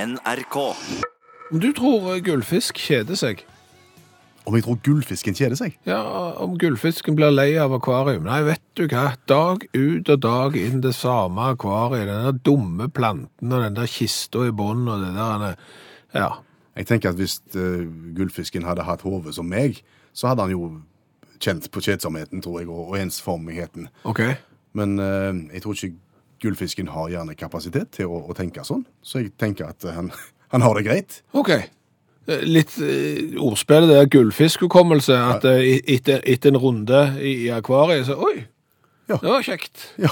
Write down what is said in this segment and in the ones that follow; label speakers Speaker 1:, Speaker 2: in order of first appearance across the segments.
Speaker 1: NRK.
Speaker 2: Om du tror eh, gullfisk kjeder seg,
Speaker 3: Om jeg tror gullfisken kjeder seg?
Speaker 2: ja, om gullfisken blir lei av akvarium, nei, vet du hva, dag ut og dag inn det samme akvariet, den der dumme planten og den der kista i bunnen og det der, ja,
Speaker 3: Jeg tenker at hvis eh, gullfisken hadde hatt hode som meg, så hadde han jo kjent på kjedsomheten, tror jeg, og, og ensformigheten.
Speaker 2: ok.
Speaker 3: Men eh, jeg tror ikke gullfisken har hjernekapasitet til å, å tenke sånn, så jeg tenker at eh, han, han har det greit.
Speaker 2: Ok. Eh, Litt eh, ordspillet der gullfiskhukommelse, at eh, i- etter, etter en runde i, i akvariet, så oi,
Speaker 3: Ja.
Speaker 2: det var kjekt.
Speaker 3: Ja,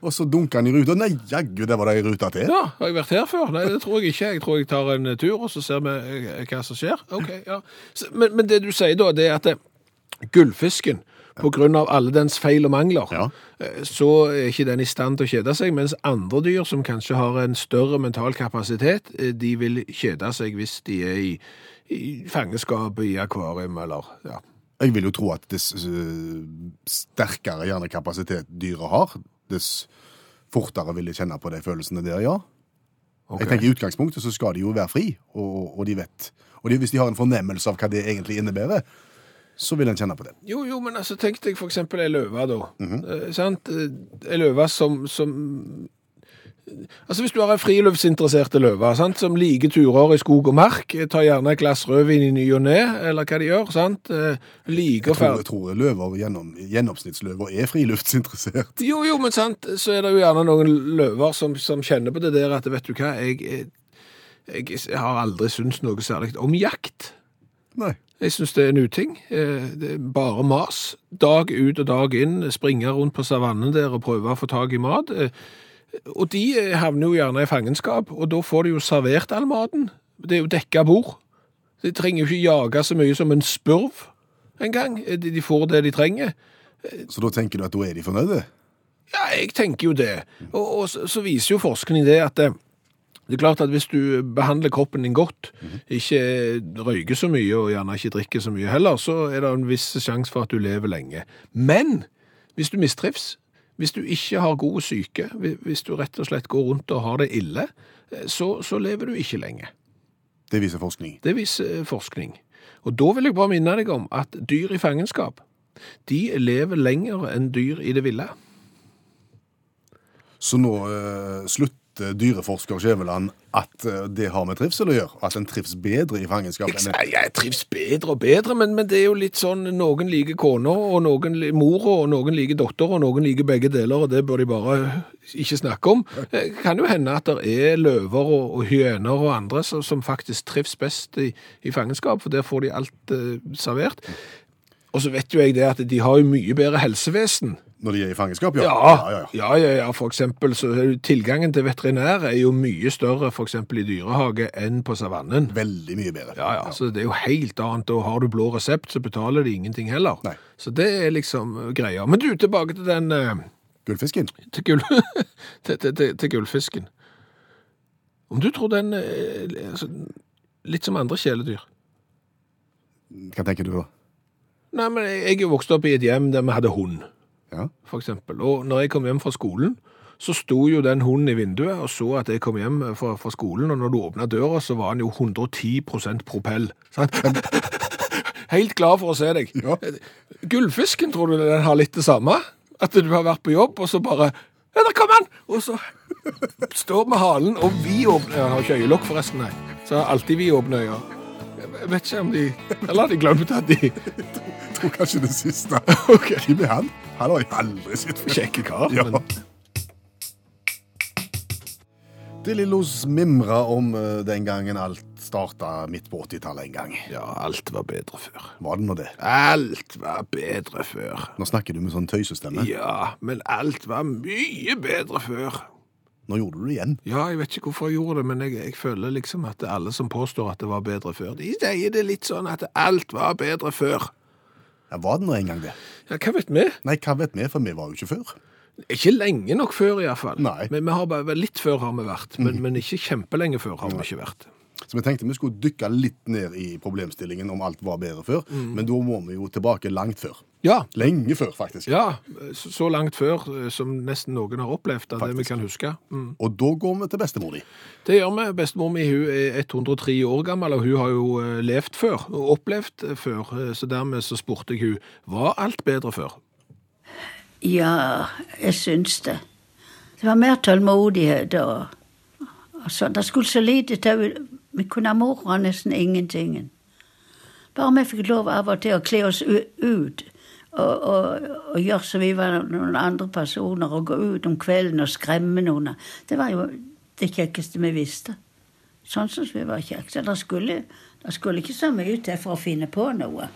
Speaker 3: og så dunker han i ruta. Nei, jaggu, det var det ei rute til.
Speaker 2: Ja, har jeg vært her før? Nei, det tror jeg ikke. Jeg tror jeg tar en tur, og så ser vi eh, hva som skjer. Ok, ja. Så- Men, men det du sier da, det er at eh, gullfisken, på grunn av alle dens feil og mangler,
Speaker 3: Ja.
Speaker 2: eh, så er ikke den i stand til å kjede seg, mens andre dyr som kanskje har en større mental kapasitet, eh, de vil kjede seg hvis de er i, i fangeskap, i akvarium eller ja.
Speaker 3: Jeg vil jo tro at dess øh, sterkere hjernekapasitet dyret har, dess fortere vil de kjenne på de følelsene der, ja.
Speaker 2: Ok.
Speaker 3: Jeg tenker I utgangspunktet så skal de jo være fri, og, og de vet. Og de, hvis de har en fornemmelse av hva det egentlig innebærer, så vil en kjenne på det.
Speaker 2: Jo, jo, men altså, tenk deg for eksempel ei løve, da.
Speaker 3: Mhm.
Speaker 2: eh, sant? Eh, Ei løve som, som Altså, Hvis du har ei friluftsinteresserte løve sant? som liker turer i skog og mark, eh, tar gjerne et glass rødvin i ny og ne, eller hva de gjør, sant? Eh, Liker
Speaker 3: Jeg tror,
Speaker 2: ferd...
Speaker 3: jeg tror løver, gjennom, gjennomsnittsløver er friluftsinteressert.
Speaker 2: Jo, jo, men sant, så er det jo gjerne noen løver som, som kjenner på det der at vet du hva, jeg, jeg, jeg har aldri syntes noe særlig om jakt.
Speaker 3: Nei.
Speaker 2: Jeg synes det er en uting. Eh, Det er bare mas. Dag ut og dag inn, springe rundt på savannen der og prøve å få tak i mat. Eh, Og de eh, havner jo gjerne i fangenskap, og da får de jo servert all maten. Det er jo dekka bord. De trenger jo ikke jage så mye som en spurv engang. Eh, De de får det de trenger.
Speaker 3: Så da tenker du at da er de fornøyde?
Speaker 2: Ja, jeg tenker jo det. Og, og så, så viser jo forskning det at eh, det er klart at hvis du behandler kroppen din godt, ikke røyker så mye og gjerne ikke drikker så mye heller, så er det en viss sjanse for at du lever lenge. Men hvis du mistrives, hvis du ikke har god syke, hvi- hvis du rett og slett går rundt og har det ille, eh, så, så lever du ikke lenge.
Speaker 3: Det viser forskning.
Speaker 2: Det viser eh, forskning. Og da vil jeg bare minne deg om at dyr i fangenskap, de lever lenger enn dyr i det ville.
Speaker 3: Så nå eh, slutter dyreforsker Skjæveland at eh, det har med trivsel å gjøre? At en trives bedre i fangenskap?
Speaker 2: Jeg,
Speaker 3: enn en-
Speaker 2: sier jeg trives bedre og bedre, men, men det er jo litt sånn Noen liker kona, og noen li- mora, og noen liker dattera, og noen liker begge deler, og det bør de bare ikke snakke om. Det kan jo hende at det er løver og, og hyener og andre som, som faktisk trives best i, i fangenskap, for der får de alt eh, servert. Og så vet jo jeg det at de har jo mye bedre helsevesen.
Speaker 3: Når de er i fangenskap, ja.
Speaker 2: Ja,
Speaker 3: ja, ja, ja.
Speaker 2: ja, ja, ja. For eksempel så er jo tilgangen til veterinær er jo mye større for eksempel i dyrehage enn på savannen.
Speaker 3: Veldig mye bedre.
Speaker 2: Ja, ja, så det er jo helt annet, og har du blå resept, så betaler de ingenting heller.
Speaker 3: Nei.
Speaker 2: Så det er liksom eh, greia. Men du, tilbake til den, eh,
Speaker 3: Gullfisken?
Speaker 2: til, gull, til, til, til, til gullfisken. Om du tror den, eh, altså, litt som andre kjeledyr.
Speaker 3: Hva tenker du da?
Speaker 2: Nei, men jeg jeg er jo vokst opp i et hjem der vi hadde hund,
Speaker 3: Ja.
Speaker 2: for eksempel. Og når jeg kom hjem fra skolen, så sto jo den hunden i vinduet og så at jeg kom hjem uh, fra, fra skolen, og når du åpnet døra, så var han jo 110 propell. Sant? Helt glad for å se deg.
Speaker 3: Ja.
Speaker 2: Gullfisken, tror du den har litt det samme? At du har vært på jobb, og så bare Ja, der kom han! Og så står med halen og vidåpne øyne. Han har ikke øyelokk, forresten, nei. Så har alltid vidåpne øyne. Jeg vet ikke om de Eller har de glemt at de
Speaker 3: Jeg tror kanskje det siste.
Speaker 2: Ok.
Speaker 3: Hvem er han? Han har jeg aldri sett før.
Speaker 2: Kjekke kar,
Speaker 3: Ja.
Speaker 2: men
Speaker 3: Det Lillos mimra om eh, den gangen alt starta midt på 80-tallet en gang.
Speaker 2: Ja, alt var bedre før.
Speaker 3: Var det nå det?
Speaker 2: Alt var bedre før.
Speaker 3: Nå snakker du med sånn tøysestemme.
Speaker 2: Ja, men alt var mye bedre før.
Speaker 3: Nå gjorde du det igjen.
Speaker 2: Ja, jeg vet ikke hvorfor jeg gjorde det, men jeg, jeg føler liksom at alle som påstår at det var bedre før, de sier det litt sånn at alt var bedre før.
Speaker 3: Ja, var det nå en gang det?
Speaker 2: Ja, hva vet vi?
Speaker 3: Nei, hva vet vi, for vi var jo ikke før.
Speaker 2: Ikke lenge nok før i hvert fall.
Speaker 3: Nei.
Speaker 2: Mhm. Men vi har bare, litt før har vi vært, men, men ikke kjempelenge før har vi ikke vært.
Speaker 3: Så vi tenkte vi skulle dykke litt ned i problemstillingen om alt var bedre før.
Speaker 2: Mm.
Speaker 3: Men da må vi jo tilbake langt før.
Speaker 2: Ja,
Speaker 3: Lenge før, faktisk.
Speaker 2: ja, så så langt før eh, som nesten noen har opplevd av det vi
Speaker 3: Faktisk.
Speaker 2: kan huske. Mm.
Speaker 3: Og da går vi til bestemor di.
Speaker 2: Det gjør vi. Bestemor mi hun er 103 år gammel, og hun har jo eh, levd før og opplevd eh, før. Eh, Så dermed så spurte jeg hun, var alt bedre før?
Speaker 1: Ja, jeg syns det. Det var mer tålmodighet og, og sånn. Det skulle så lite til. Vi kunne ha moro nesten ingenting. Bare vi fikk lov av og til å kle oss u- ut og, og, og gjøre som vi var noen andre personer, og gå ut om kvelden og skremme noen. Det var jo det kjekkeste vi visste. Sånn syns vi var kjekt. Så det skulle, det skulle ikke så mye til for å finne på noe.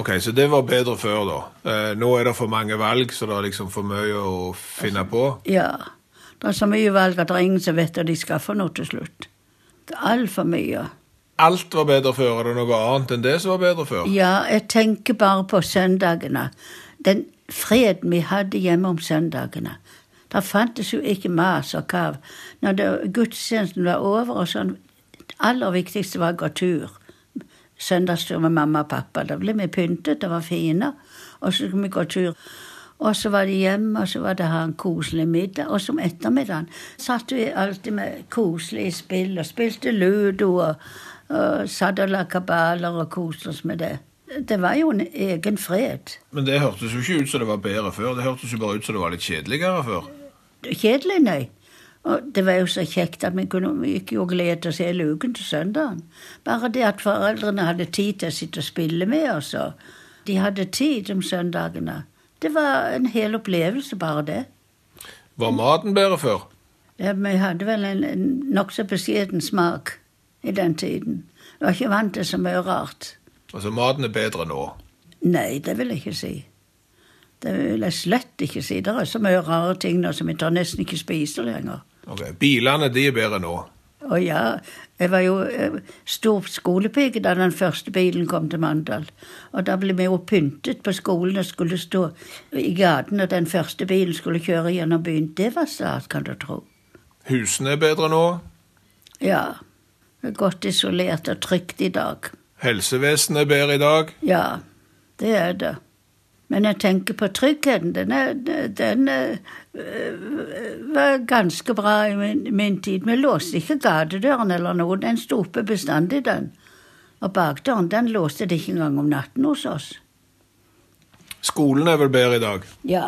Speaker 2: Ok, så det var bedre før da. Eh, nå er det for mange valg, så det er liksom for mye å finne på.
Speaker 1: Ja. Det er så mye valg at det er ingen som vet hva de skal for noe til slutt. Det er altfor mye.
Speaker 2: Alt var bedre før, er det noe annet enn det som var bedre før?
Speaker 1: Ja, jeg tenker bare på søndagene. Den freden vi hadde hjemme om søndagene. Der fantes jo ikke mas og kav. Når det- gudstjenesten var over og sånn Det aller viktigste var å gå tur. Søndagstur med mamma og pappa. Da ble vi pyntet og var fine. Og så skulle vi gå tur. Og så var det hjemme, og så var det ha en koselig middag. Og så om ettermiddagen satt vi alltid med koselige spill og spilte ludo og, og satt og la kabaler og koste oss med det. Det var jo en egen fred.
Speaker 2: Men det hørtes jo ikke ut som det var bedre før. Det hørtes jo bare ut som det var litt kjedeligere før.
Speaker 1: Kjedelig, nei. Og det var jo så kjekt at vi, kunne, vi gikk jo og gledet oss hele uken til søndagen. Bare det at foreldrene hadde tid til å sitte og spille med oss, og de hadde tid om søndagene. Det var en hel opplevelse, bare det.
Speaker 2: Var maten bedre før?
Speaker 1: Ja, men jeg hadde vel en, en nokså beskjeden smak i den tiden. Jeg var ikke vant til så mye rart.
Speaker 2: Altså, maten er bedre nå.
Speaker 1: Nei, det vil jeg ikke si. Det vil jeg slett ikke si. Det er så mye rare ting nå som jeg tør nesten ikke spise lenger.
Speaker 2: Ok, Bilene, de er bedre nå.
Speaker 1: Og ja, jeg var jo eh, stor skolepike da den første bilen kom til Mandal. Og da ble vi jo pyntet på skolen og skulle stå i gaten, og den første bilen skulle kjøre gjennom byen. Det var stas, kan du tro.
Speaker 2: Husene er bedre nå.
Speaker 1: Ja. Det er Godt isolert og trygt i dag.
Speaker 2: Helsevesenet er bedre i dag.
Speaker 1: Ja, det er det. Men jeg tenker på tryggheten. Den, er, den eh, var ganske bra i min, min tid. Vi låste ikke gatedøren eller noe. Den sto oppe bestandig, den. Og bakdøren den låste de ikke engang om natten hos oss.
Speaker 2: Skolen er vel bedre i dag.
Speaker 1: Ja,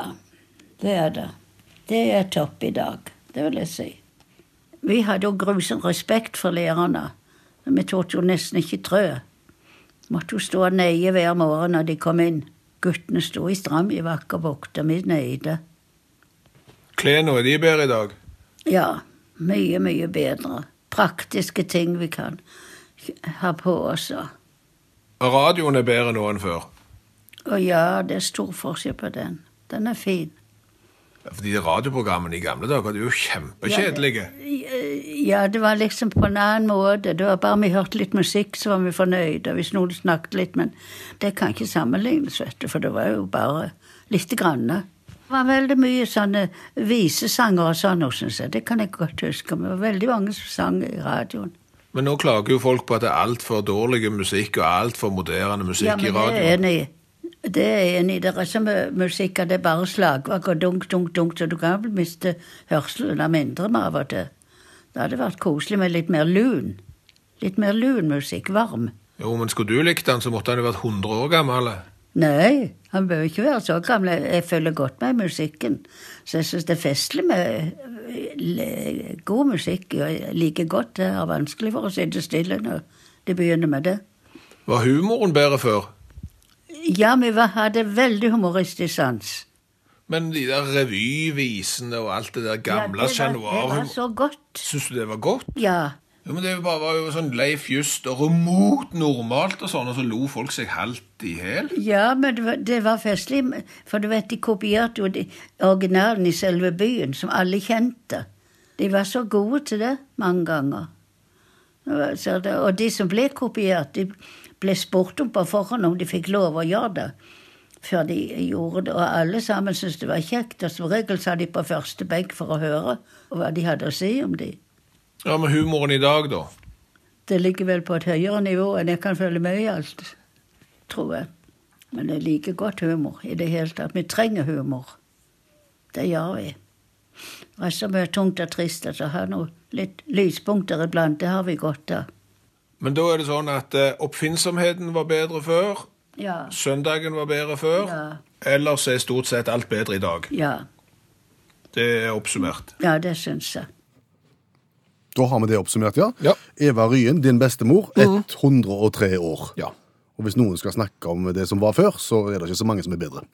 Speaker 1: det er det. Det er topp i dag, det vil jeg si. Vi hadde jo grusom respekt for lærerne. Vi torde jo nesten ikke trø. Måtte jo stå nøye hver morgen når de kom inn. Guttene sto i stramjakk og vokta vi nøyde.
Speaker 2: Klærne er de bedre i dag.
Speaker 1: Ja, mye, mye bedre. Praktiske ting vi kan ha på oss. og-
Speaker 2: Radioen er bedre nå enn før.
Speaker 1: Og ja, det er stor forskjell på den. Den er fin.
Speaker 2: Ja, Fordi de radioprogrammene i gamle dager de er jo kjempekjedelige.
Speaker 1: Ja, det var liksom på en annen måte. Det var bare vi hørte litt musikk, så var vi fornøyde. Hvis noen snakket litt, men det kan ikke sammenlignes, vet du, for det var jo bare lite grann. Det var veldig mye sånne visesanger og sånn, syns jeg. Det kan jeg godt huske. Det var veldig mange som sang i radioen.
Speaker 2: Men nå klager jo folk på at det er altfor dårlig musikk og altfor moderne musikk
Speaker 1: Ja, men
Speaker 2: i
Speaker 1: det er
Speaker 2: radioen.
Speaker 1: enig. i. Det er jeg enig. i. Det er så mye musikk at det er bare slagverk og dunk, dunk, dunk, så du kan vel miste hørselen av mindre med av og til. Det hadde vært koselig med litt mer lun. Litt mer lun musikk. Varm.
Speaker 2: Jo, men skulle du likt den, så måtte han jo vært 100 år gammel.
Speaker 1: Nei, han bør ikke være så gammel. Jeg følger godt med i musikken. Så jeg syns det er festlig med le- god musikk. og Jeg liker godt det. er vanskelig for å sitte stille når de begynner med det.
Speaker 2: Var humoren bedre før?
Speaker 1: Ja, vi var- hadde veldig humoristisk sans.
Speaker 2: Men de der revyvisene og alt det der gamle
Speaker 1: ja,
Speaker 2: ja,
Speaker 1: det var, det var så godt.
Speaker 2: Syns du det var godt?
Speaker 1: Ja.
Speaker 2: Jo, men Det bare var jo sånn Leif Juster og mot normalt og sånn, og så lo folk seg halvt i hæl.
Speaker 1: Ja, men det var, det var festlig, for du vet, de kopierte jo de- originalen i selve byen, som alle kjente. De var så gode til det mange ganger. Så det, og de som ble kopiert, de ble spurt om på forhånd om de fikk lov å gjøre det. Før de gjorde det, og alle sammen syntes det var kjekt. Og som regel sa de på første benk for å høre hva de hadde å si om de.
Speaker 2: Ja, men humoren i dag, da?
Speaker 1: Det ligger vel på et høyere nivå enn jeg kan følge med i alt, tror jeg. Men jeg liker godt humor i det hele tatt. Vi trenger humor. Det gjør vi. Det er så mye tungt og trist at å ha noen litt lyspunkter iblant, det har vi godt av.
Speaker 2: Men da er det sånn at eh, oppfinnsomheten var bedre før,
Speaker 1: Ja.
Speaker 2: søndagen var bedre før,
Speaker 1: Ja.
Speaker 2: ellers er stort sett alt bedre i dag.
Speaker 1: Ja.
Speaker 2: Det er oppsummert.
Speaker 1: ja, det syns jeg.
Speaker 3: Da har vi det oppsummert, ja.
Speaker 2: Ja.
Speaker 3: Eva Ryen, din bestemor, 103 år.
Speaker 2: Ja.
Speaker 3: Og hvis noen skal snakke om det som var før, så er det ikke så mange som er bedre.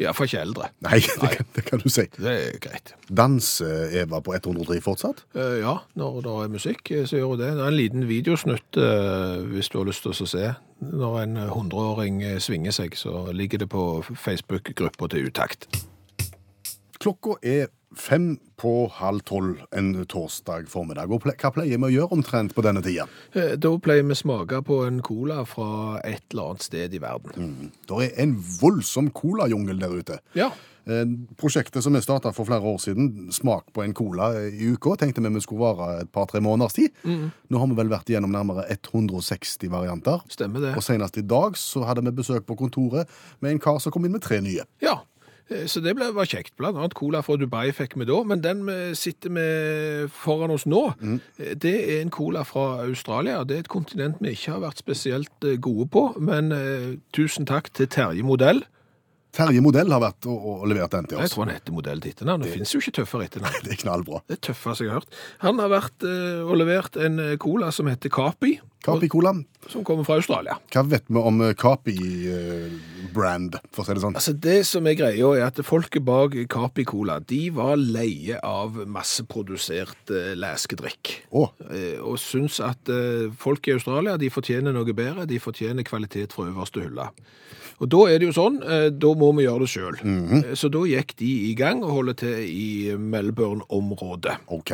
Speaker 2: Iallfall ikke eldre.
Speaker 3: Nei, det kan, det kan du si.
Speaker 2: Det er greit.
Speaker 3: Danser Eva på 103 fortsatt?
Speaker 2: Eh, ja, når det er musikk, eh, så gjør hun det. Det er en liten videosnutt eh, hvis du har lyst til å se. Når en hundreåring eh, svinger seg, så ligger det på Facebook-gruppa til utakt.
Speaker 3: Klokka er fem på halv tolv en torsdag formiddag. Og ple hva pleier vi å gjøre omtrent på denne tida?
Speaker 2: Eh, Da pleier vi smake på en cola fra et eller annet sted i verden.
Speaker 3: Det er en voldsom colajungel der ute.
Speaker 2: Ja.
Speaker 3: Eh, Prosjektet som vi starta for flere år siden, Smak på en cola i uka, tenkte vi vi skulle vare et par-tre måneders tid.
Speaker 2: Mm.
Speaker 3: Nå har vi vel vært igjennom nærmere 160 varianter.
Speaker 2: Stemmer det.
Speaker 3: Og senest i dag så hadde vi besøk på kontoret med en kar som kom inn med tre nye.
Speaker 2: Ja, eh, så det ble, var kjekt. Blant annet cola fra Dubai fikk vi da, men den vi sitter med foran oss nå, eh, det er en cola fra Australia. Det er et kontinent vi ikke har vært spesielt eh, gode på, men eh, tusen takk til Terje Modell.
Speaker 3: Terje Modell har vært og, og levert den til
Speaker 2: Jeg
Speaker 3: oss.
Speaker 2: tror han heter Modell til etternavn. Det finnes jo ikke tøffere etternavn.
Speaker 3: Det er knallbra.
Speaker 2: Det tøffeste jeg har hørt. Han har vært eh, og levert en eh, cola som heter Kapi,
Speaker 3: Kapi Cola,
Speaker 2: som kommer fra Australia.
Speaker 3: hva vet vi om eh, Kapi eh, brand, for å si det sånn?
Speaker 2: Altså Det som er greia, er at folket bak Kapi Cola de var leie av masseprodusert eh, leskedrikk.
Speaker 3: Å,
Speaker 2: Eh, og syns at eh, folk i Australia de fortjener noe bedre. De fortjener kvalitet fra øverste hylle. Og da er det jo sånn, eh, da må vi gjøre det sjøl. Så da gikk de i gang og holder til i eh, Melbourne-området.
Speaker 3: OK.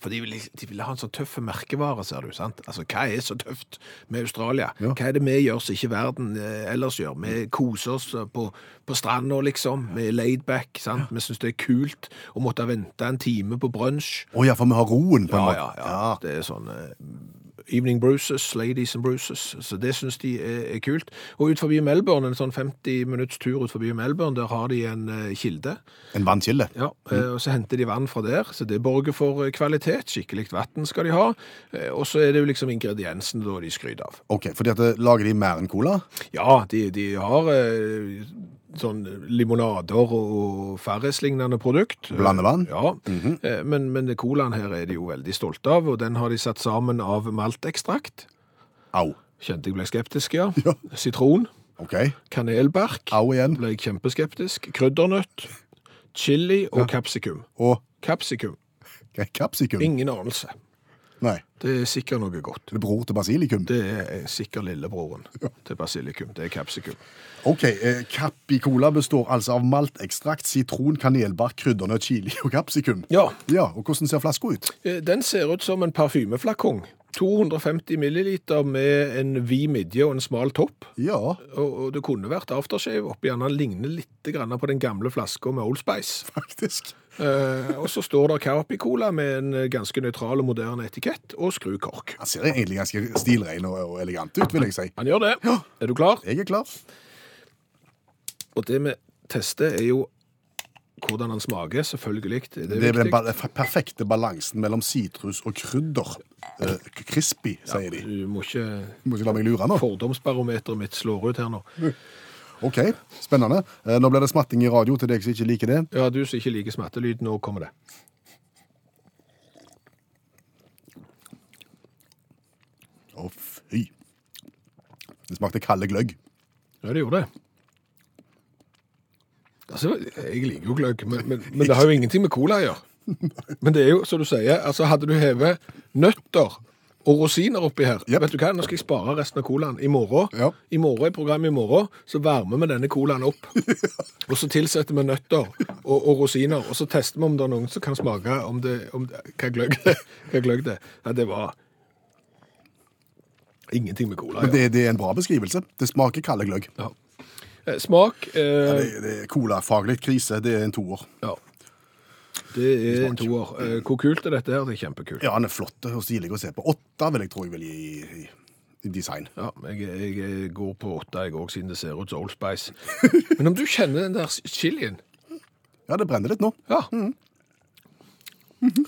Speaker 2: For de ville, de ville ha en sånn tøff merkevare, ser du. sant? Altså, Hva er så tøft med Australia?
Speaker 3: Ja.
Speaker 2: Hva er det vi gjør som ikke verden eh, ellers gjør? Vi koser oss på, på stranda, liksom. Vi er laid back. sant? Vi syns det er kult å måtte vente en time på brunsj.
Speaker 3: Å ja, for vi har roen, på en
Speaker 2: Ja,
Speaker 3: måte.
Speaker 2: ja, ja. Det er sånn eh, Evening Bruises, Ladies and Bruises. Så det syns de er, er kult. Og ut forbi Melbourne, en sånn 50 minutts tur ut forbi Melbourne, der har de en eh, kilde.
Speaker 3: En vannkilde.
Speaker 2: Ja, eh, og så henter de vann fra der, så det borger for eh, kvalitet. Skikkelig vann skal de ha. Eh, Og så er det jo liksom ingrediensene da de skryter av.
Speaker 3: OK, fordi at eh, lager de mer enn cola?
Speaker 2: Ja, de, de har eh, sånn limonader og Farris-lignende produkt.
Speaker 3: Blandevann?
Speaker 2: Ja,
Speaker 3: Mhm.
Speaker 2: eh, men, men colaen her er de jo veldig stolte av, og den har de satt sammen av maltekstrakt.
Speaker 3: Au.
Speaker 2: Kjente jeg ble skeptisk, ja.
Speaker 3: Ja.
Speaker 2: Sitron,
Speaker 3: OK.
Speaker 2: kanelbark,
Speaker 3: Au igjen.
Speaker 2: ble jeg kjempeskeptisk. Kryddernøtt, chili og kapsikum.
Speaker 3: Og
Speaker 2: Kapsikum,
Speaker 3: k- kapsikum.
Speaker 2: ingen anelse.
Speaker 3: Nei.
Speaker 2: Det er sikkert noe godt.
Speaker 3: Det er bror til basilikum.
Speaker 2: Det er sikkert lillebroren til basilikum. Det er kapsikum.
Speaker 3: OK, eh, Kappi Cola består altså av maltekstrakt, sitron, kanelbark, kryddernøtt, chili og kapsikum.
Speaker 2: Ja,
Speaker 3: Ja, og hvordan ser flaska ut?
Speaker 2: eh, den ser ut som en parfymeflakong. 250 milliliter med en vid midje og en smal topp.
Speaker 3: Ja.
Speaker 2: Og, og det kunne vært aftershave oppi den. Den ligner litt grann på den gamle flaska med Old Spice.
Speaker 3: Faktisk.
Speaker 2: Eh, og så står det Carpi-cola med en eh, ganske nøytral og moderne etikett og skrukork.
Speaker 3: Han ser egentlig ganske stilrein og, og elegant ut, vil jeg si.
Speaker 2: Han gjør det. Er du klar?
Speaker 3: Jeg er klar.
Speaker 2: Og det vi tester, er jo hvordan han smaker, selvfølgelig. Det er,
Speaker 3: Det er den
Speaker 2: viktig.
Speaker 3: ba- perfekte balansen mellom sitrus og krydder. Eh, k- crispy, sier de.
Speaker 2: Du må ikke
Speaker 3: Må ikke la meg lure nå.
Speaker 2: Fordomsbarometeret mitt slår ut her nå.
Speaker 3: OK, spennende. Eh, nå blir det smatting i radio til deg som ikke liker det.
Speaker 2: Ja, du som ikke liker smattelyd, nå kommer det.
Speaker 3: Å, fy. Det smakte kalde gløgg.
Speaker 2: Ja, det gjorde det. Altså, jeg liker jo gløgg, men, men, men det har jo ingenting med cola å gjøre. Men det er jo, som du sier, altså hadde du hevet nøtter og rosiner oppi her,
Speaker 3: Yep.
Speaker 2: vet du hva, nå skal jeg spare resten av colaen i morgen.
Speaker 3: Ja.
Speaker 2: I morgen, i programmet i morgen, så varmer vi denne colaen opp. Og så tilsetter vi nøtter og, og rosiner, og så tester vi om det er noen som kan smake om det, om det hva gløgg det, hva gløgg det. er. Ja, det var ingenting med cola. å
Speaker 3: Men
Speaker 2: gjøre.
Speaker 3: det, det er en bra beskrivelse. Det smaker kalde gløgg.
Speaker 2: Ja. Eh, Smak. Eh,
Speaker 3: Det, det er colafaglig krise. Det er en toer.
Speaker 2: Ja. Det er en toer. Eh, Hvor kult er dette her? Det er kjempekult.
Speaker 3: Ja, han er flott og stilig å se på. Åtte vil jeg tro jeg vil gi i, i design.
Speaker 2: Ja, jeg, jeg går på åtte, jeg òg, siden det ser ut som Old Spice. Men om du kjenner den der chilien
Speaker 3: Ja, det brenner litt nå.
Speaker 2: Ja. Mm-hmm.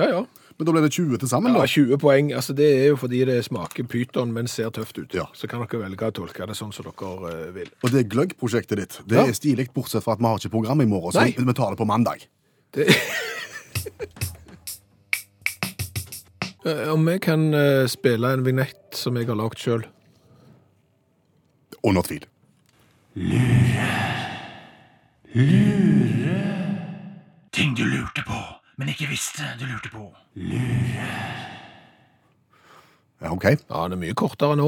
Speaker 2: Ja, ja.
Speaker 3: Men da ble det 20 til sammen,
Speaker 2: Ja,
Speaker 3: da.
Speaker 2: 20 poeng. Altså, det er jo fordi det smaker pyton, men ser tøft ut.
Speaker 3: Ja.
Speaker 2: Så kan dere velge å tolke det sånn som dere eh, vil.
Speaker 3: Og det gløgg-prosjektet ditt, det
Speaker 2: Ja.
Speaker 3: er stilig, bortsett fra at vi har ikke program i morgen, så
Speaker 2: Nei.
Speaker 3: vi tar det på mandag.
Speaker 2: Det... Eh, Om jeg kan eh, spille en vignett som jeg har lagd sjøl?
Speaker 3: Under tvil.
Speaker 4: Ting du lurte på, men ikke visste du lurte på.
Speaker 3: Ja, OK.
Speaker 2: Ja, den er mye kortere nå.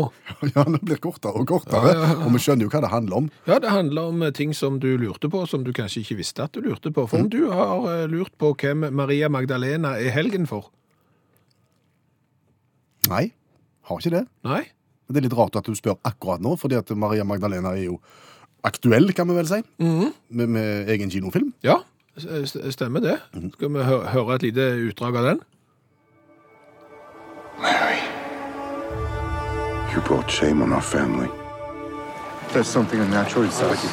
Speaker 3: Ja, det blir kortere og kortere, og vi skjønner jo hva det handler om.
Speaker 2: Ja, Det handler om eh, ting som du lurte på, som du kanskje ikke visste at du lurte på. For om du har eh, lurt på hvem Maria Magdalena er helgen for
Speaker 3: Nei, har ikke det.
Speaker 2: Nei?
Speaker 3: Det er litt rart at du spør akkurat nå, fordi at Maria Magdalena er jo aktuell, kan vi vel si, med, med egen kinofilm.
Speaker 2: Ja, s- eh, s- stemmer det. Skal vi hø høre et lite utdrag av den?
Speaker 5: Larry, you brought shame on our family. There's something unnatural inside you.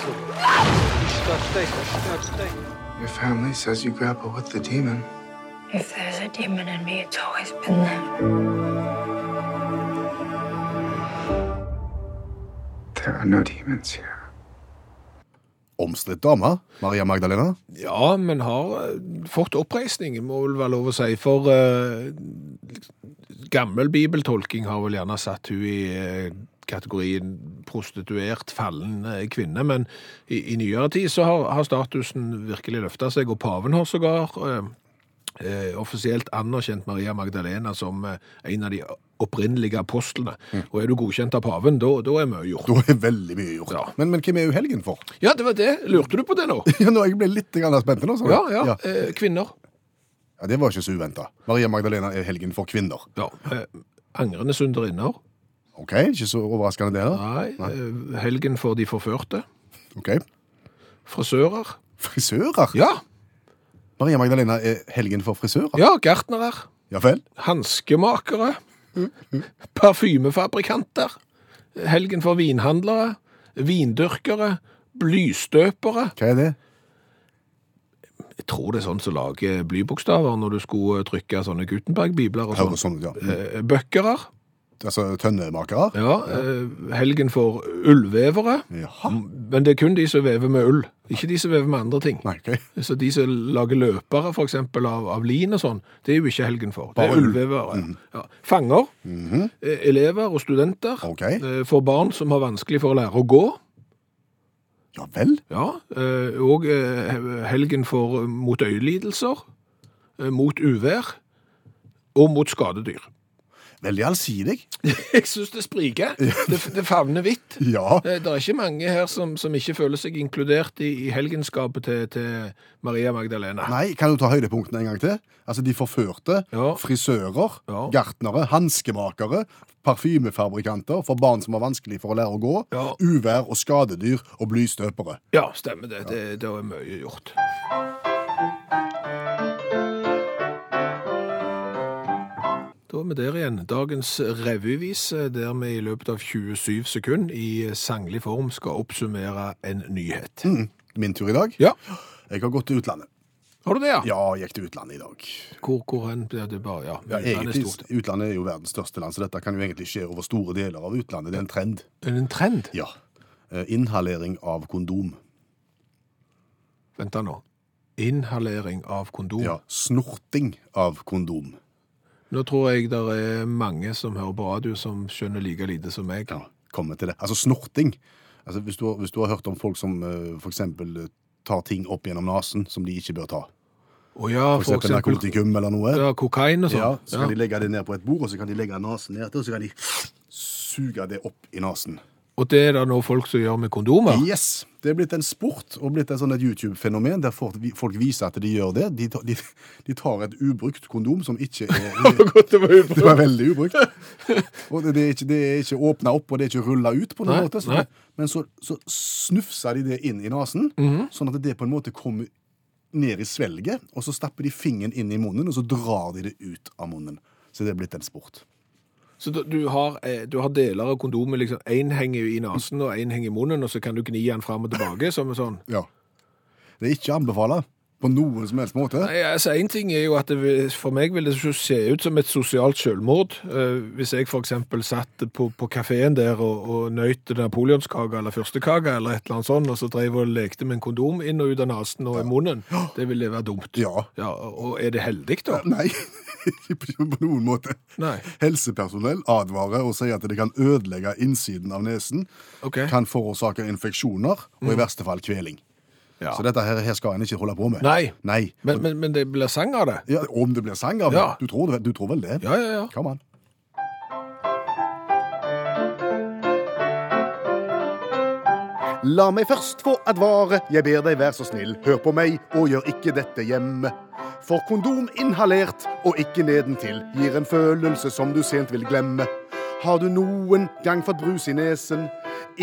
Speaker 6: Your family says you grapple with the demon.
Speaker 7: If there's a demon in me, it's always been there.
Speaker 6: There are no demons here.
Speaker 3: Omstridt dame, Maria Magdalena.
Speaker 2: Ja, men har eh, fått oppreisning, må vel være lov å si. For eh, gammel bibeltolking har vel gjerne satt hun i eh, kategorien prostituert, fallen eh, kvinne. Men i, i nyere tid så har, har statusen virkelig løfta seg, og paven har sågar eh, eh, offisielt anerkjent Maria Magdalena som eh, en av de opprinnelige apostlene. Og er du godkjent av paven, da, da er mye gjort.
Speaker 3: Da er veldig mye gjort.
Speaker 2: Ja.
Speaker 3: Men, men hvem er jo helgen for?
Speaker 2: Ja, det var det. Lurte du på det nå?
Speaker 3: Ja, nå, jeg ble litt grann spent nå. sa du.
Speaker 2: Ja, ja. Eh, kvinner.
Speaker 3: Ja, Det var ikke så uventa. Maria Magdalena er helgen for kvinner.
Speaker 2: Ja. Eh, angrende sunderinner.
Speaker 3: Ok, Ikke så overraskende det, da.
Speaker 2: Nei. eh, Helgen for de forførte.
Speaker 3: Ok.
Speaker 2: Frisører.
Speaker 3: Frisører?
Speaker 2: Ja,
Speaker 3: Maria Magdalena er helgen for frisører?
Speaker 2: ja gartnere.
Speaker 3: Ja vel?
Speaker 2: Hanskemakere. Parfymefabrikanter. Helgen for vinhandlere. Vindyrkere. Blystøpere.
Speaker 3: Hva er det?
Speaker 2: Jeg tror det er sånn som lager blybokstaver når du skulle eh, trykke sånne Gutenberg-bibler og
Speaker 3: Høres
Speaker 2: sånn.
Speaker 3: sånn ut, ja.
Speaker 2: Eh, Bøkkerer.
Speaker 3: Altså tønnemakere?
Speaker 2: Ja, eh, helgen for ullvevere.
Speaker 3: Jaha.
Speaker 2: Men det er kun de som vever med ull, ikke de som vever med andre ting.
Speaker 3: Nei, ok.
Speaker 2: Så de som lager løpere, for eksempel, av, av lin og sånn, det er jo ikke helgen for. Det
Speaker 3: Bare
Speaker 2: er
Speaker 3: ull. Mm. Mhm.
Speaker 2: ullvevere. ja. Fanger, eh, elever og studenter.
Speaker 3: Ok.
Speaker 2: eh, For barn som har vanskelig for å lære å gå.
Speaker 3: Ja vel?
Speaker 2: Ja, eh, og eh, helgen for mot øyelidelser, eh, mot uvær og mot skadedyr.
Speaker 3: Veldig allsidig.
Speaker 2: Jeg synes det spriker. Det, det favner vidt.
Speaker 3: Ja.
Speaker 2: Eh, Det er ikke mange her som, som ikke føler seg inkludert i, i helgenskapet til, til Maria Magdalena.
Speaker 3: Nei, kan du ta høydepunktene en gang til? Altså de forførte,
Speaker 2: Ja.
Speaker 3: frisører,
Speaker 2: Ja.
Speaker 3: gartnere, hanskemakere, parfymefabrikanter for barn som har vanskelig for å lære å gå,
Speaker 2: Ja.
Speaker 3: uvær og skadedyr og blystøpere.
Speaker 2: Ja, stemmer det. Det, det er mye gjort. Da er vi der igjen. Dagens revyvise, der vi i løpet av 27 sekunder i sanglig form skal oppsummere en nyhet.
Speaker 3: Mm. Min tur i dag.
Speaker 2: Ja,
Speaker 3: Jeg har gått til utlandet.
Speaker 2: har du det, ja?
Speaker 3: Ja, jeg gikk til utlandet i dag.
Speaker 2: Hvor, hvor hen blir det bare Ja,
Speaker 3: Ja,
Speaker 2: utlandet er
Speaker 3: egentlig,
Speaker 2: stort.
Speaker 3: utlandet er jo verdens største land, så dette kan jo egentlig skje over store deler av utlandet. Det er en trend.
Speaker 2: Er det en trend?
Speaker 3: Ja. Eh, Inhalering av kondom.
Speaker 2: Vent da nå. Inhalering av kondom.
Speaker 3: Ja, snorting av kondom.
Speaker 2: Nå tror jeg det er mange som hører på radio som skjønner like lite som meg.
Speaker 3: ja, komme til det. Altså snorting. Altså, hvis, du, har- hvis du har hørt om folk som eh, for eksempel eh, tar ting opp gjennom nasen som de ikke bør ta.
Speaker 2: Å ja,
Speaker 3: For eksempel, narkotikum eller noe.
Speaker 2: ja, kokain og
Speaker 3: Ja,
Speaker 2: sånn.
Speaker 3: så kan de legge det ned på et bord, og så kan de legge nasen ned til, og så kan de suge det opp i nasen.
Speaker 2: Og det er det nå folk som gjør med kondomer?
Speaker 3: Yes! Det er blitt en sport og blitt en sånn et YouTube-fenomen der folk, folk viser at de gjør det. De, tar- de, de tar et ubrukt kondom som ikke er Det var veldig ubrukt. Og det, det er ikke, det er ikke åpna opp, og det er ikke rulla ut på noen
Speaker 2: Nei,
Speaker 3: måte. Så,
Speaker 2: nei. Mhm.
Speaker 3: Men så, så snufser de det inn i nesen, sånn at det på en måte kommer ned i svelget, og så stapper de fingeren inn i munnen, og så drar de det ut av munnen. Så det er blitt en sport.
Speaker 2: Så du- du har, eh, du har deler av kondomet, liksom, en henger jo i nasen og en henger i munnen, og så kan du gni den frem og tilbake, som en sånn.
Speaker 3: Ja. Det er ikke å anbefale på noen som helst måte.
Speaker 2: Nei, altså, en ting er jo at det, vil- for meg vil det jo se ut som et sosialt selvmord, eh, hvis jeg for eksempel satt på, på kaféen der og, og nøyt napoleonskaka eller førstekaka eller et eller annet sånt, og så drev og lekte med en kondom inn og ut av nasen og i munnen. Det ville være dumt.
Speaker 3: Ja.
Speaker 2: Ja, og er det heldig da?
Speaker 3: Nei, ikke på på noen måte.
Speaker 2: Nei.
Speaker 3: Helsepersonell advarer og sier at det kan ødelegge innsiden av nesen,
Speaker 2: Ok.
Speaker 3: kan forårsake infeksjoner, og i verste fall kveling.
Speaker 2: Mm. Ja.
Speaker 3: Så dette her, her skal en ikke holde på med.
Speaker 2: Nei.
Speaker 3: Nei.
Speaker 2: Men, men, men det blir sang av det.
Speaker 3: Ja, om det blir sang av det?
Speaker 2: Ja.
Speaker 3: Du, tror, det- du tror vel det?
Speaker 2: Ja, ja, ja.
Speaker 3: Come on.
Speaker 8: La meg først få advare, jeg ber deg vær så snill, hør på meg og gjør ikke dette hjemme. For kondom inhalert og ikke nedentil gir en følelse som du sent vil glemme. Har du noen gang fått brus i nesen?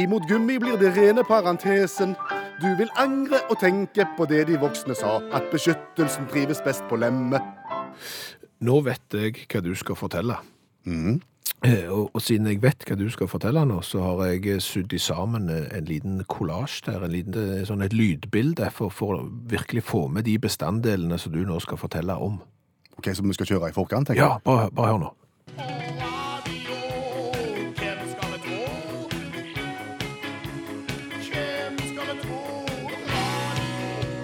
Speaker 8: Imot gummi blir det rene parentesen. Du vil angre og tenke på det de voksne sa, at beskyttelsen trives best på lemmet.
Speaker 2: Nå vet jeg hva du skal fortelle. Eh, Og, og siden jeg vet hva du skal fortelle nå, så har jeg eh, sydd i sammen eh, en liten kollasj der, en liten, eh, sånn et lydbilde, for, for å virkelig få med de bestanddelene som du nå skal fortelle om.
Speaker 3: Ok, Som vi skal kjøre i forkant? tenker
Speaker 2: Ja, bare, bare hør nå.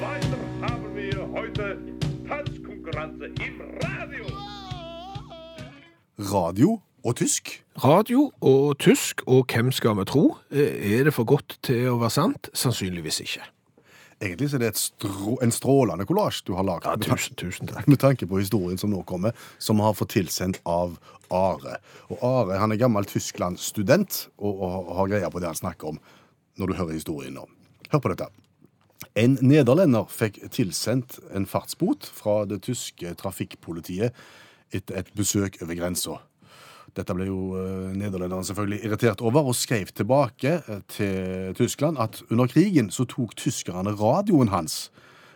Speaker 9: Weiter haben wir heute Tanzkonkurrenze im Radio.
Speaker 3: jeg. Radio og tysk?
Speaker 2: Radio og tysk, og hvem skal vi tro? Eh, Er det for godt til å være sant? Sannsynligvis ikke.
Speaker 3: Egentlig så er det et strå, en strålende kollasj du har laget.
Speaker 2: Ja, tusen, tusen takk.
Speaker 3: med tanke på historien som nå kommer, som har fått tilsendt av Are. Og Are han er gammel Tyskland-student og, og har greia på det han snakker om når du hører historien nå. Hør på dette. En nederlender fikk tilsendt en fartsbot fra det tyske trafikkpolitiet etter et besøk over grensa. Dette ble jo eh, nederlenderne selvfølgelig irritert over, og skrev tilbake eh, til Tyskland at under krigen så tok tyskerne radioen hans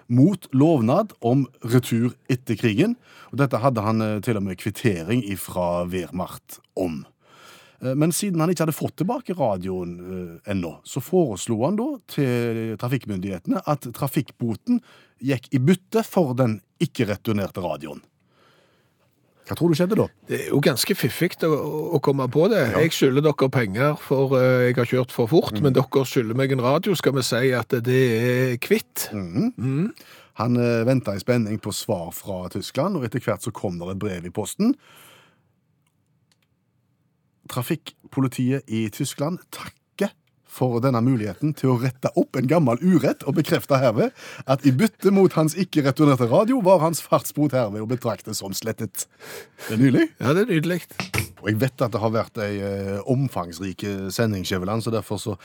Speaker 3: mot lovnad om retur etter krigen. Og dette hadde han eh, til og med kvittering ifra Wehrmacht om. Eh, Men siden han ikke hadde fått tilbake radioen eh, ennå, så foreslo han da til trafikkmyndighetene at trafikkboten gikk i bytte for den ikke-returnerte radioen. Hva tror du skjedde da?
Speaker 2: Det er jo ganske fiffig å, å komme på det. Jeg skylder dere penger for eh, jeg har kjørt for fort, men dere skylder meg en radio. Skal vi si at det er kvitt?
Speaker 3: Han eh, venta i spenning på svar fra Tyskland, og etter hvert så kom det et brev i posten. Trafikkpolitiet i Tyskland takker for denne muligheten til å rette opp en gammel urett, og bekrefter herved at i bytte mot hans ikke-returnerte radio var hans fartsbot herved å betrakte som slettet. Det er nylig.
Speaker 2: Ja, det er nydelig.
Speaker 3: Og jeg vet at det har vært ei eh, omfangsrik eh, sending, Skjæveland, så derfor så,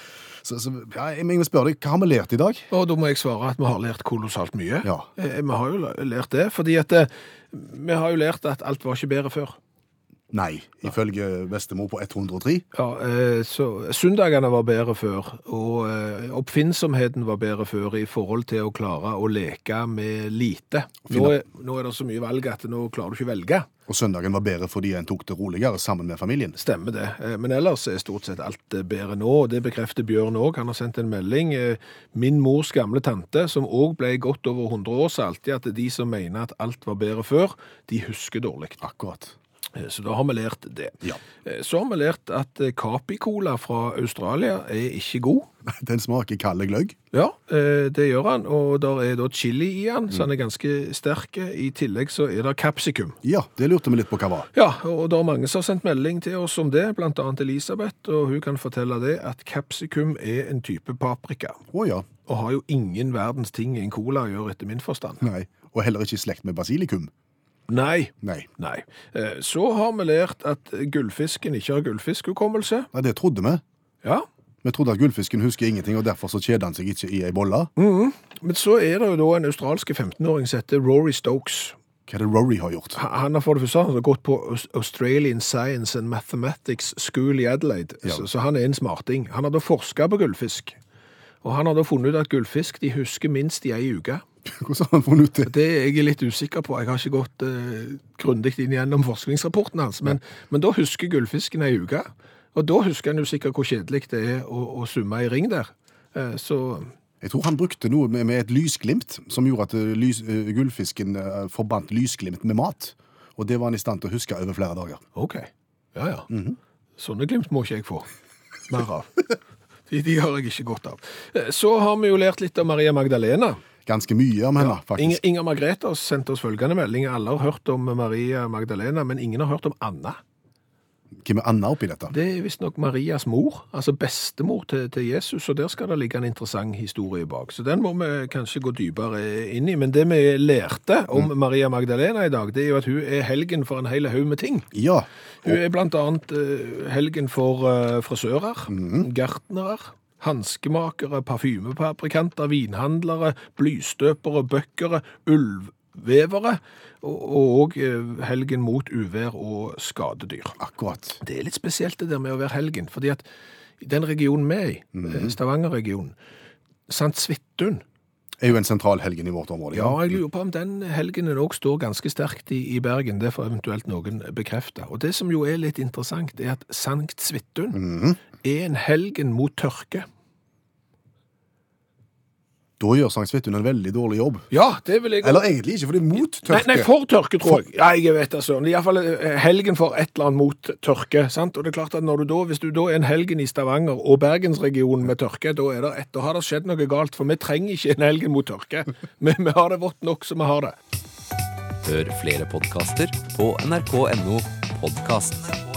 Speaker 3: så, så ja, Jeg må spørre deg, hva har vi lært i dag?
Speaker 2: Og da må jeg svare at vi har lært kolossalt mye.
Speaker 3: Ja.
Speaker 2: Eh, Vi har jo lært det, fordi at eh, vi har jo lært at alt var ikke bedre før.
Speaker 3: Nei, ifølge bestemor på 103.
Speaker 2: Ja, eh, så Søndagene var bedre før, og eh, oppfinnsomheten var bedre før i forhold til å klare å leke med lite. Nå er, nå er det så mye valg at nå klarer du ikke å velge.
Speaker 3: Og søndagen var bedre fordi en tok det roligere sammen med familien.
Speaker 2: Stemmer det. Eh, Men ellers er stort sett alt eh, bedre nå, og det bekrefter Bjørn òg. Han har sendt en melding. eh, Min mors gamle tante, som òg ble godt over 100 år, sa alltid at de som mener at alt var bedre før, de husker dårlig.
Speaker 3: Akkurat.
Speaker 2: Eh, Så da har vi lært det.
Speaker 3: Ja.
Speaker 2: Eh, Så har vi lært at eh, Capicola fra Australia er ikke god.
Speaker 3: Den smaker kalde gløgg.
Speaker 2: Ja, eh, det gjør han, og der er da chili i han, så han er ganske sterk. I tillegg så er det kapsikum.
Speaker 3: Ja, det lurte vi litt på hva var.
Speaker 2: Ja, og det er mange som har sendt melding til oss om det, blant annet Elisabeth, og hun kan fortelle det at capsicum er en type paprika,
Speaker 3: Å ja.
Speaker 2: og har jo ingen verdens ting en cola gjør etter min forstand.
Speaker 3: Nei. Og heller ikke i slekt med basilikum.
Speaker 2: Nei,
Speaker 3: Nei.
Speaker 2: nei. Eh, Så har vi lært at gullfisken ikke har gullfiskhukommelse.
Speaker 3: Nei, det trodde vi.
Speaker 2: Ja,
Speaker 3: Vi trodde at gullfisken husker ingenting, og derfor så kjeder han seg ikke i ei bolle.
Speaker 2: men så er det jo da en australske 15-åring som heter Rory Stokes.
Speaker 3: Hva er det Rory har gjort?
Speaker 2: Han han har for det første han har gått på Aus- Australian Science and Mathematics School i Adelaide, så, så han er en smarting. Han har da forsket på gullfisk, og han har da funnet ut at gullfisk de husker minst i ei uke.
Speaker 3: Hvordan har han funnet ut det?
Speaker 2: Det er jeg litt usikker på. Jeg har ikke gått eh, grundig inn gjennom forskningsrapporten hans. Men, men da husker gullfisken ei uke. Og da husker han jo sikkert hvor kjedelig det er å, å summe i ring der. Eh, så
Speaker 3: Jeg tror han brukte noe med, med et lysglimt, som gjorde at eh, lys, eh, gullfisken eh, forbandt lysglimt med mat. Og det var han i stand til å huske over flere dager.
Speaker 2: OK. Ja ja. Sånne glimt må ikke jeg få Mhm. mer av. De, de har jeg ikke godt av. Eh, Så har vi jo lært litt av Maria Magdalena.
Speaker 3: Ganske mye om henne,
Speaker 2: Inger,
Speaker 3: faktisk.
Speaker 2: Inger Margrethe har sendt oss følgende melding. Alle har hørt om Maria Magdalena, men ingen har hørt om Anna.
Speaker 3: Hvem er Anna oppi dette?
Speaker 2: Det er visstnok Marias mor, altså bestemor til, til Jesus, og der skal det ligge en interessant historie bak. Så den må vi kanskje gå dypere inn i. Men det vi lærte om Maria Magdalena i dag, det er jo at hun er helgen for en hel haug med ting.
Speaker 3: Ja.
Speaker 2: Hun er blant annet eh, helgen for eh, frisører, gartnere, hanskemakere, parfymefabrikanter, vinhandlere, blystøpere, bøkkere, ulvvevere, og, og eh, helgen mot uvær og skadedyr.
Speaker 3: Akkurat.
Speaker 2: Det er litt spesielt det der med å være helgen, fordi at i den regionen vi er i, eh, Stavanger-regionen, Sankt Svittun,
Speaker 3: Er jo en sentral helgen i vårt område.
Speaker 2: ja, jeg lurer på om den helgenen òg står ganske sterkt i, i Bergen. Det får eventuelt noen bekrefte. Og det som jo er litt interessant, er at Sankt Svittun
Speaker 3: Mhm.
Speaker 2: er en helgen mot tørke.
Speaker 3: Da gjør Sankt Svithun en veldig dårlig jobb.
Speaker 2: Ja, det vil jeg
Speaker 3: Eller egentlig ikke, for det er mot tørke.
Speaker 2: Nei, nei, for tørke, tror jeg. Ja, jeg vet det, søren. Iallfall eh, helgen for et eller annet mot tørke. sant? Og det er klart at når du da, Hvis du da er en helgen i Stavanger og Bergensregionen med tørke, da, er det et, da har det skjedd noe galt. For vi trenger ikke en helgen mot tørke. Men vi har det vått nok som vi har det.
Speaker 10: Hør flere podkaster på nrk.no podkast.